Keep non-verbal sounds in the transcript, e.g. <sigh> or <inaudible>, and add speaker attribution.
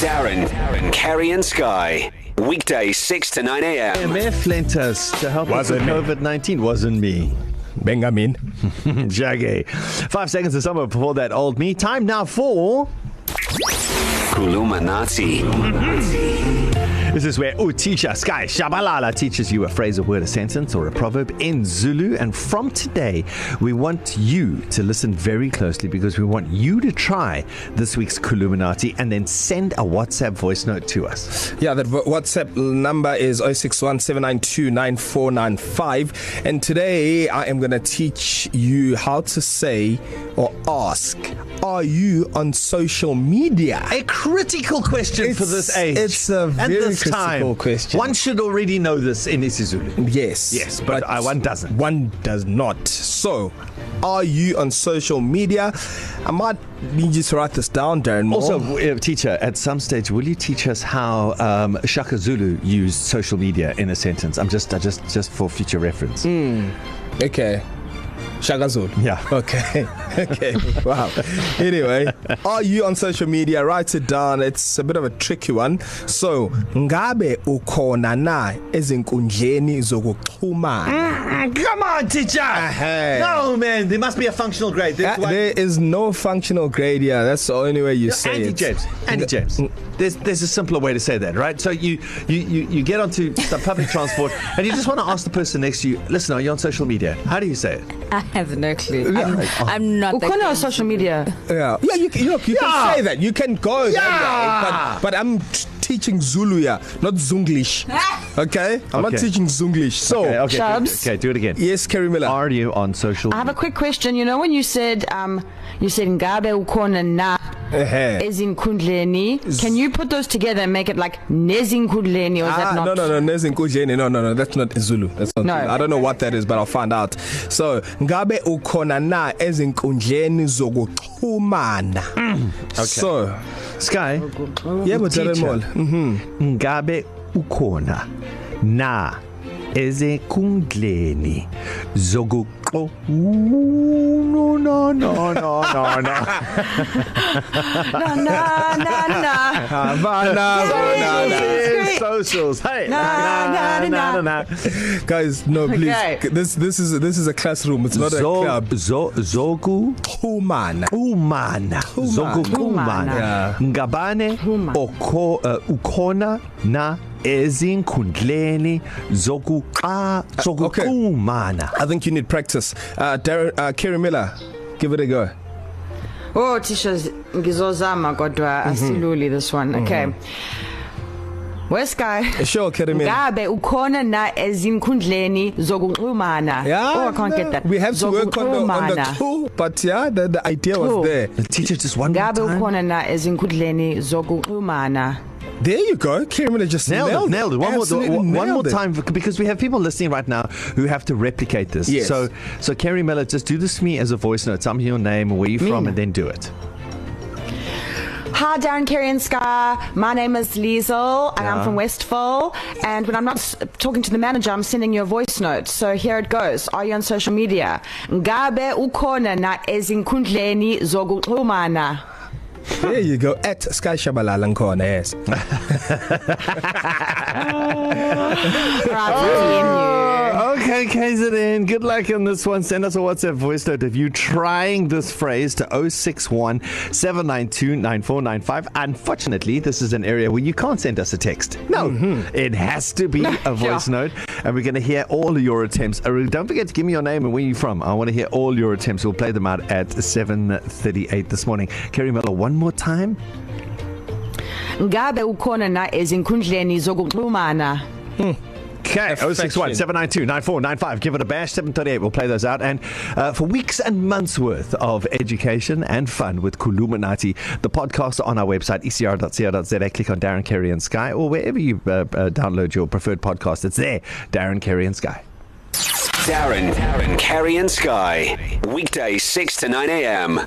Speaker 1: Darren, Kerry and Sky. Weekday 6 to 9 a.m.
Speaker 2: MF lent us to help
Speaker 3: Wasn't me.
Speaker 2: us with COVID 19. Wasn't me.
Speaker 3: <laughs>
Speaker 2: <laughs>
Speaker 3: Benjamin.
Speaker 2: Jaggy. Five seconds of summer before that old me. Time now for.
Speaker 1: Kulumanati.
Speaker 2: This is where Utisha Sky Shabalala teaches you a phrase, a word, a sentence, or a proverb in Zulu. And from today, we want you to listen very closely because we want you to try this week's Kuluminati and then send a WhatsApp voice note to us.
Speaker 3: Yeah, that w- WhatsApp number is 0617929495. And today I am going to teach you how to say or ask, Are you on social media?
Speaker 2: A critical question
Speaker 3: It's-
Speaker 2: for this age.
Speaker 3: it's a
Speaker 2: and
Speaker 3: very
Speaker 2: this
Speaker 3: critical
Speaker 2: time.
Speaker 3: question.
Speaker 2: One should already know this in isiZulu.
Speaker 3: Yes.
Speaker 2: Yes, but, but uh, one doesn't.
Speaker 3: One does not. So, are you on social media? I might need you to write this down, Darren. Moore.
Speaker 2: Also, w- uh, teacher, at some stage, will you teach us how um, Shaka Zulu used social media in a sentence? I'm just, I just, just for future reference. Mm.
Speaker 3: Okay. Shagazul.
Speaker 2: Yeah.
Speaker 3: Okay. <laughs> okay. Wow. Anyway, are you on social media? Write it down. It's a bit of a tricky one. So, ngabe ukhona na ezinkundleni zokuxhumana?
Speaker 2: Come on, Ah, teacher!
Speaker 3: Hey.
Speaker 2: No, man, there must be a functional grade.
Speaker 3: Uh,
Speaker 2: There's one-
Speaker 3: there is no functional grade here. That's the only way you say
Speaker 2: Andy
Speaker 3: it. Mm.
Speaker 2: James. Andy
Speaker 3: Nga-
Speaker 2: James. There's there's a simpler way to say that, right? So you you you, you get onto the public transport and you just want to ask the person next to you. Listen, are you on social media? How do you say it?
Speaker 4: I have no clue. I'm, I'm not. that
Speaker 5: Ukhona on
Speaker 4: kind.
Speaker 5: social media.
Speaker 3: Yeah, yeah. You, you look, you yeah.
Speaker 2: Yeah.
Speaker 3: can say that. You can go. Yeah.
Speaker 2: Yeah.
Speaker 3: That way, but, but I'm t- teaching Zulu here, not Zunglish. okay, I'm okay.
Speaker 2: Ah. Okay.
Speaker 3: not teaching Zunglish. So
Speaker 2: Okay, okay,
Speaker 5: Chubbs.
Speaker 2: okay, do it again.
Speaker 3: yes, Kerry Miller.
Speaker 2: Are you on social?
Speaker 5: I have a quick question. You know when you said um you said ngabe ukhona na
Speaker 3: Uh-huh.
Speaker 5: ezinkundleni? Can you put those together and make it like nezinkundleni or is
Speaker 3: Ah,
Speaker 5: that not?
Speaker 3: no,
Speaker 5: <laughs>
Speaker 3: no, no, nezinkundleni. No, no, no, that's not Zulu. That's not
Speaker 5: No.
Speaker 3: Zulu. I don't know what that is, but I'll find out. So, ngabe ukhona na ezinkundleni zokuxhumana?
Speaker 5: Mm.
Speaker 3: Okay. So,
Speaker 2: Sky.
Speaker 3: yeah, but Darren
Speaker 2: Teacher.
Speaker 3: Moll. Mm-hmm.
Speaker 2: Ngabe ukhona na ezinkundleni zokuxo Oh, no no no no no no
Speaker 3: <laughs>
Speaker 5: no, no, no, no.
Speaker 3: <laughs>
Speaker 5: <laughs>
Speaker 3: Havana,
Speaker 5: Great.
Speaker 2: socials hey
Speaker 5: Na, na, na,
Speaker 2: na.
Speaker 3: Guys, no, please.
Speaker 5: Okay.
Speaker 3: Okay. This, this is, this is a classroom. It's not
Speaker 2: zo
Speaker 3: Zog. a club.
Speaker 2: zo zoku
Speaker 3: Xhumana.
Speaker 2: umana zokukumana
Speaker 3: Yeah.
Speaker 2: ngabane oko uh, ukhona na ezinkundleni zokuqa
Speaker 3: Uh, okay.
Speaker 2: zokukumana
Speaker 3: I think you need practice. Uh, Darren, uh, Kerry Miller, give it a go.
Speaker 5: Oh, tisha's ngizozama kodwa
Speaker 3: Mhm.
Speaker 5: asiluli this one. Okay. Where's guy?
Speaker 3: Eh, Sure, Kerry Miller.
Speaker 5: ngabe ukhona na ezinkundleni zokunxumana
Speaker 3: Yeah,
Speaker 5: oh i can't
Speaker 3: no,
Speaker 5: get that
Speaker 3: We have to work on the, on the
Speaker 5: Zokuxhumana.
Speaker 3: two, but yeah, the, the idea was
Speaker 5: Two.
Speaker 3: there.
Speaker 2: the teacher just one more
Speaker 5: ngabe
Speaker 2: time
Speaker 5: ukhona na ezinkundleni zokunxumana
Speaker 3: There you go. Kermit just
Speaker 2: Nailed, nailed it, nailed it. One more,
Speaker 3: Absolutely
Speaker 2: one, one
Speaker 3: nailed
Speaker 2: more
Speaker 3: it.
Speaker 2: time bec- because we have people listening right now who have to replicate this.
Speaker 3: Yes.
Speaker 2: So, so Kerry Miller, just do this to me as a voice note. Tell me your name, where you from,
Speaker 5: Mina.
Speaker 2: and then do <laughs> it.
Speaker 5: Hi, Darren, Kerry, and Sky. My name is Liesel, and
Speaker 2: Yeah.
Speaker 5: I'm from Westville. And when I'm not s- talking to the manager, I'm sending you a voice note. So here it goes. Are you on social media? Ngabe ukhona na ezinkundleni zokuxhumana?
Speaker 3: There you go. At Sky Shabalala Nkona, yes.
Speaker 5: Right, oh. you.
Speaker 2: Okay, KZN, good luck on this one. Send us a WhatsApp voice note if you're trying this phrase to 061 792 9495. Unfortunately, this is an area where you can't send us a text. No, mm-hmm. it has to <laughs> be a voice yeah. note, and we're going to hear all of your attempts. Uh, Don't forget to give me your name and where you're from. I want to hear all your attempts. We'll play them out at 7.38 this morning. Kerry Miller, one more time.
Speaker 5: Ngabe ukhona na ezinkundleni zokuxhumana?
Speaker 2: Okay, 061 792 9495. Give it a bash. 738. We'll play those out. And uh, for weeks and months worth of education and fun with Kuluminati, the podcast on our website, E ecr.co.za. Click on Darren, Kerry, and Sky, or wherever you uh, uh, download your preferred podcast. It's there, Darren, Kerry, and Sky.
Speaker 1: Darren, Darren, Kerry and Sky. Weekday 6 to 9 a.m.